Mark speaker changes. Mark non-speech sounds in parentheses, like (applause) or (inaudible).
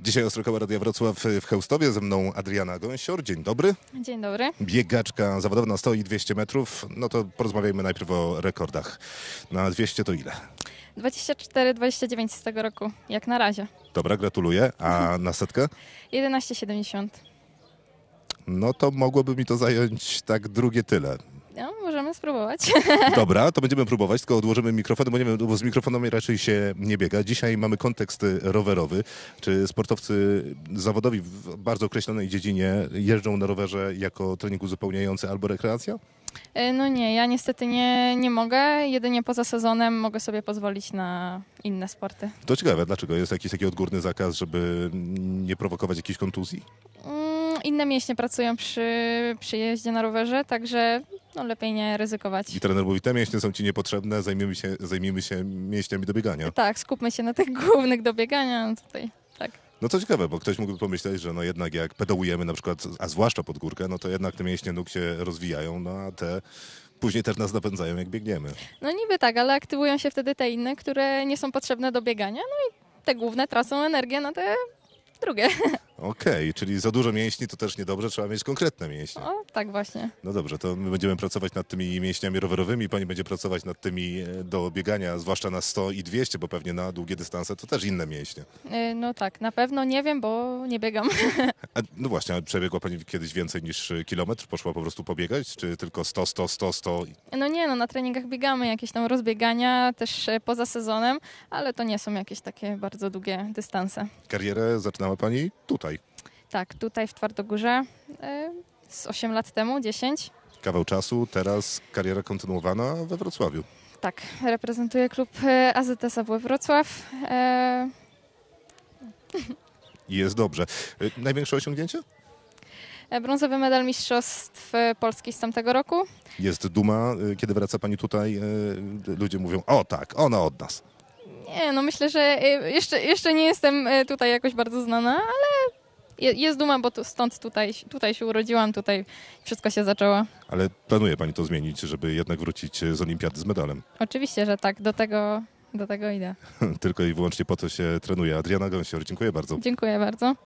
Speaker 1: Dzisiaj Ostrokoła Radia Wrocław w Chełstowie, ze mną Adriana Gąsior. Dzień dobry.
Speaker 2: Dzień dobry.
Speaker 1: Biegaczka zawodowa na 100 i 200 metrów. No to porozmawiajmy najpierw o rekordach. Na 200 to ile?
Speaker 2: 24-29 z tego roku, jak na razie.
Speaker 1: Dobra, gratuluję. A na setkę?
Speaker 2: 11,70.
Speaker 1: No to mogłoby mi to zająć tak drugie tyle.
Speaker 2: No, możemy spróbować. (laughs)
Speaker 1: Dobra, to będziemy próbować, tylko odłożymy mikrofony, bo nie wiem, bo z mikrofonami raczej się nie biega. Dzisiaj mamy kontekst y, rowerowy. Czy sportowcy zawodowi w bardzo określonej dziedzinie jeżdżą na rowerze jako trening uzupełniający albo rekreacja?
Speaker 2: E, No nie, ja niestety nie, nie mogę. Jedynie poza sezonem mogę sobie pozwolić na inne sporty.
Speaker 1: To ciekawe, dlaczego? Jest jakiś taki odgórny zakaz, żeby nie prowokować jakichś kontuzji?
Speaker 2: Mm, Inne mięśnie pracują przy, przy jeździe na rowerze, także no, lepiej nie ryzykować.
Speaker 1: I trener mówi, te mięśnie są ci niepotrzebne, zajmiemy się, zajmiemy się mięśniami do biegania.
Speaker 2: Tak, skupmy się na tych (laughs) głównych do biegania no, tutaj. Tak.
Speaker 1: No co ciekawe, bo ktoś mógłby pomyśleć, że no jednak jak pedałujemy na przykład, a zwłaszcza pod górkę, no to jednak te mięśnie nóg się rozwijają, no a te później też nas napędzają jak biegniemy.
Speaker 2: No niby tak, ale aktywują się wtedy te inne, które nie są potrzebne do biegania, no i te główne tracą energię na te drugie. (laughs)
Speaker 1: Okej, czyli za dużo mięśni to też niedobrze, trzeba mieć konkretne mięśnie.
Speaker 2: O, tak właśnie.
Speaker 1: No dobrze, to my będziemy pracować nad tymi mięśniami rowerowymi, pani będzie pracować nad tymi e, do biegania, zwłaszcza na 100 i 200, bo pewnie na długie dystanse to też inne mięśnie.
Speaker 2: Y, No tak, na pewno nie wiem, bo nie biegam. (laughs)
Speaker 1: A, no właśnie, a przebiegła pani kiedyś więcej niż e, kilometr? Poszła po prostu pobiegać? Czy tylko 100, 100, 100, 100?
Speaker 2: No nie, no na treningach biegamy, jakieś tam rozbiegania też e, poza sezonem, ale to nie są jakieś takie bardzo długie dystanse.
Speaker 1: Karierę zaczynała pani tutaj.
Speaker 2: Tak, tutaj w Twardogórze e, z 8 lat temu, 10.
Speaker 1: Kawał czasu, teraz kariera kontynuowana we Wrocławiu.
Speaker 2: Tak, reprezentuję klub e, AZS AW Wrocław. E,
Speaker 1: I jest dobrze. E, Największe osiągnięcie?
Speaker 2: e, Brązowy medal Mistrzostw e, Polski z tamtego roku.
Speaker 1: Jest duma, e, kiedy wraca pani tutaj, e, ludzie mówią, o tak, ona od nas.
Speaker 2: Nie, no myślę, że e, jeszcze, jeszcze nie jestem e, tutaj jakoś bardzo znana, ale je- jest duma, bo tu, stąd tutaj, tutaj się urodziłam, tutaj wszystko się zaczęło.
Speaker 1: Ale planuje pani to zmienić, żeby jednak wrócić y, z olimpiady z medalem. (laughs)
Speaker 2: Oczywiście, że tak, do tego, do tego idę.
Speaker 1: Tylko i wyłącznie po to się trenuje. Adriana Gąsior, dziękuję bardzo.
Speaker 2: Dziękuję bardzo.